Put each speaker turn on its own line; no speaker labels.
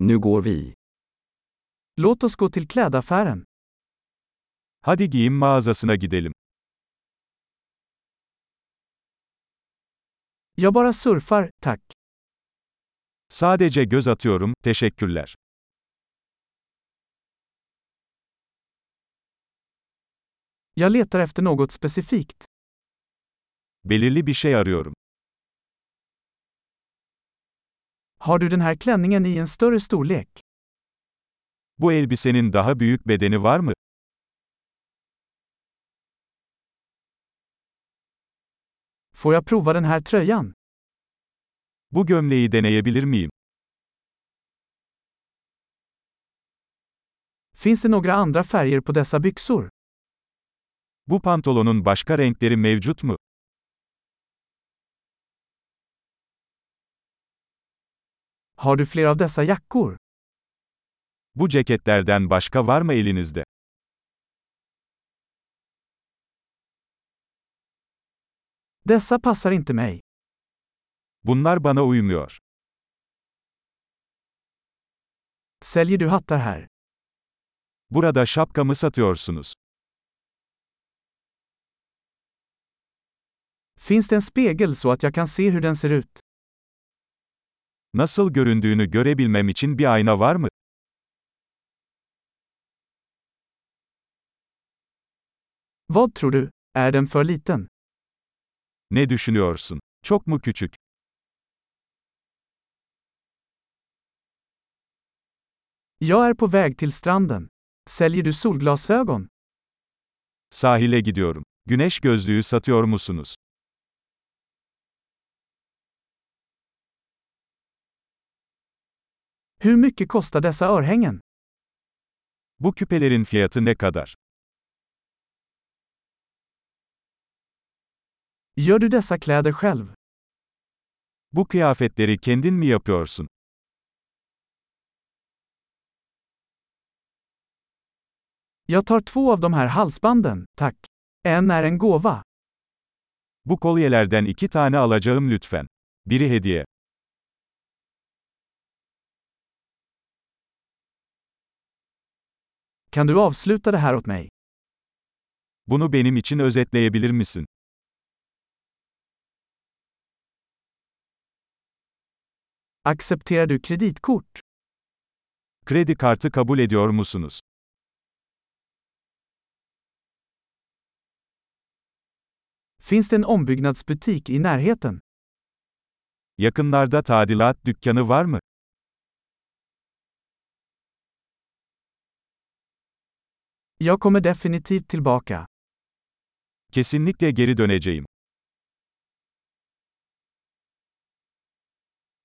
Nu går vi.
Låt oss gå till klädaffären.
Hadi giyim mağazasına gidelim.
Jag bara surfar, tack.
Sadece göz atıyorum, teşekkürler.
Jag letar efter något specifikt.
Belirli bir şey arıyorum.
Har du den här klänningen i en större storlek?
Bu elbisenin daha büyük bedeni var mı?
Får jag prova den här tröjan?
Bu gömleği deneyebilir miyim?
Finns det några andra färger på dessa byxor?
Bu pantolonun başka renkleri mevcut mu?
Har du fler av dessa jackor?
Bu ceketlerden başka var mı elinizde?
Dessa passar inte mig.
Bunlar bana uymuyor.
Säljer du hattar här?
Burada şapkamı satıyorsunuz.
Finns det en spegel så att jag kan se hur den ser ut?
Nasıl göründüğünü görebilmem için bir ayna var mı?
Vad tror du? Är den för liten?
Ne düşünüyorsun? Çok mu küçük?
Jag är på väg till stranden. Säljer du solglasögon?
Sahile gidiyorum. Güneş gözlüğü satıyor musunuz?
Hur mycket kostar dessa örhängen?
Bu küpelerin fiyatı ne kadar?
Gör du dessa kläder själv?
Bu kıyafetleri kendin mi yapıyorsun?
Jag tar två av de här halsbanden, tack. En är en gåva.
Bu kolyelerden iki tane alacağım lütfen. Biri hediye.
Kan du avsluta det här åt mig?
Bunu benim için özetleyebilir misin?
Accepterar du kreditkort?
Kredi kartı kabul ediyor musunuz?
Finns det en ombyggnadsbutik i närheten?
Yakınlarda tadilat dükkanı var mı?
Jag kommer definitivt tillbaka.
Kesinlikle geri döneceğim.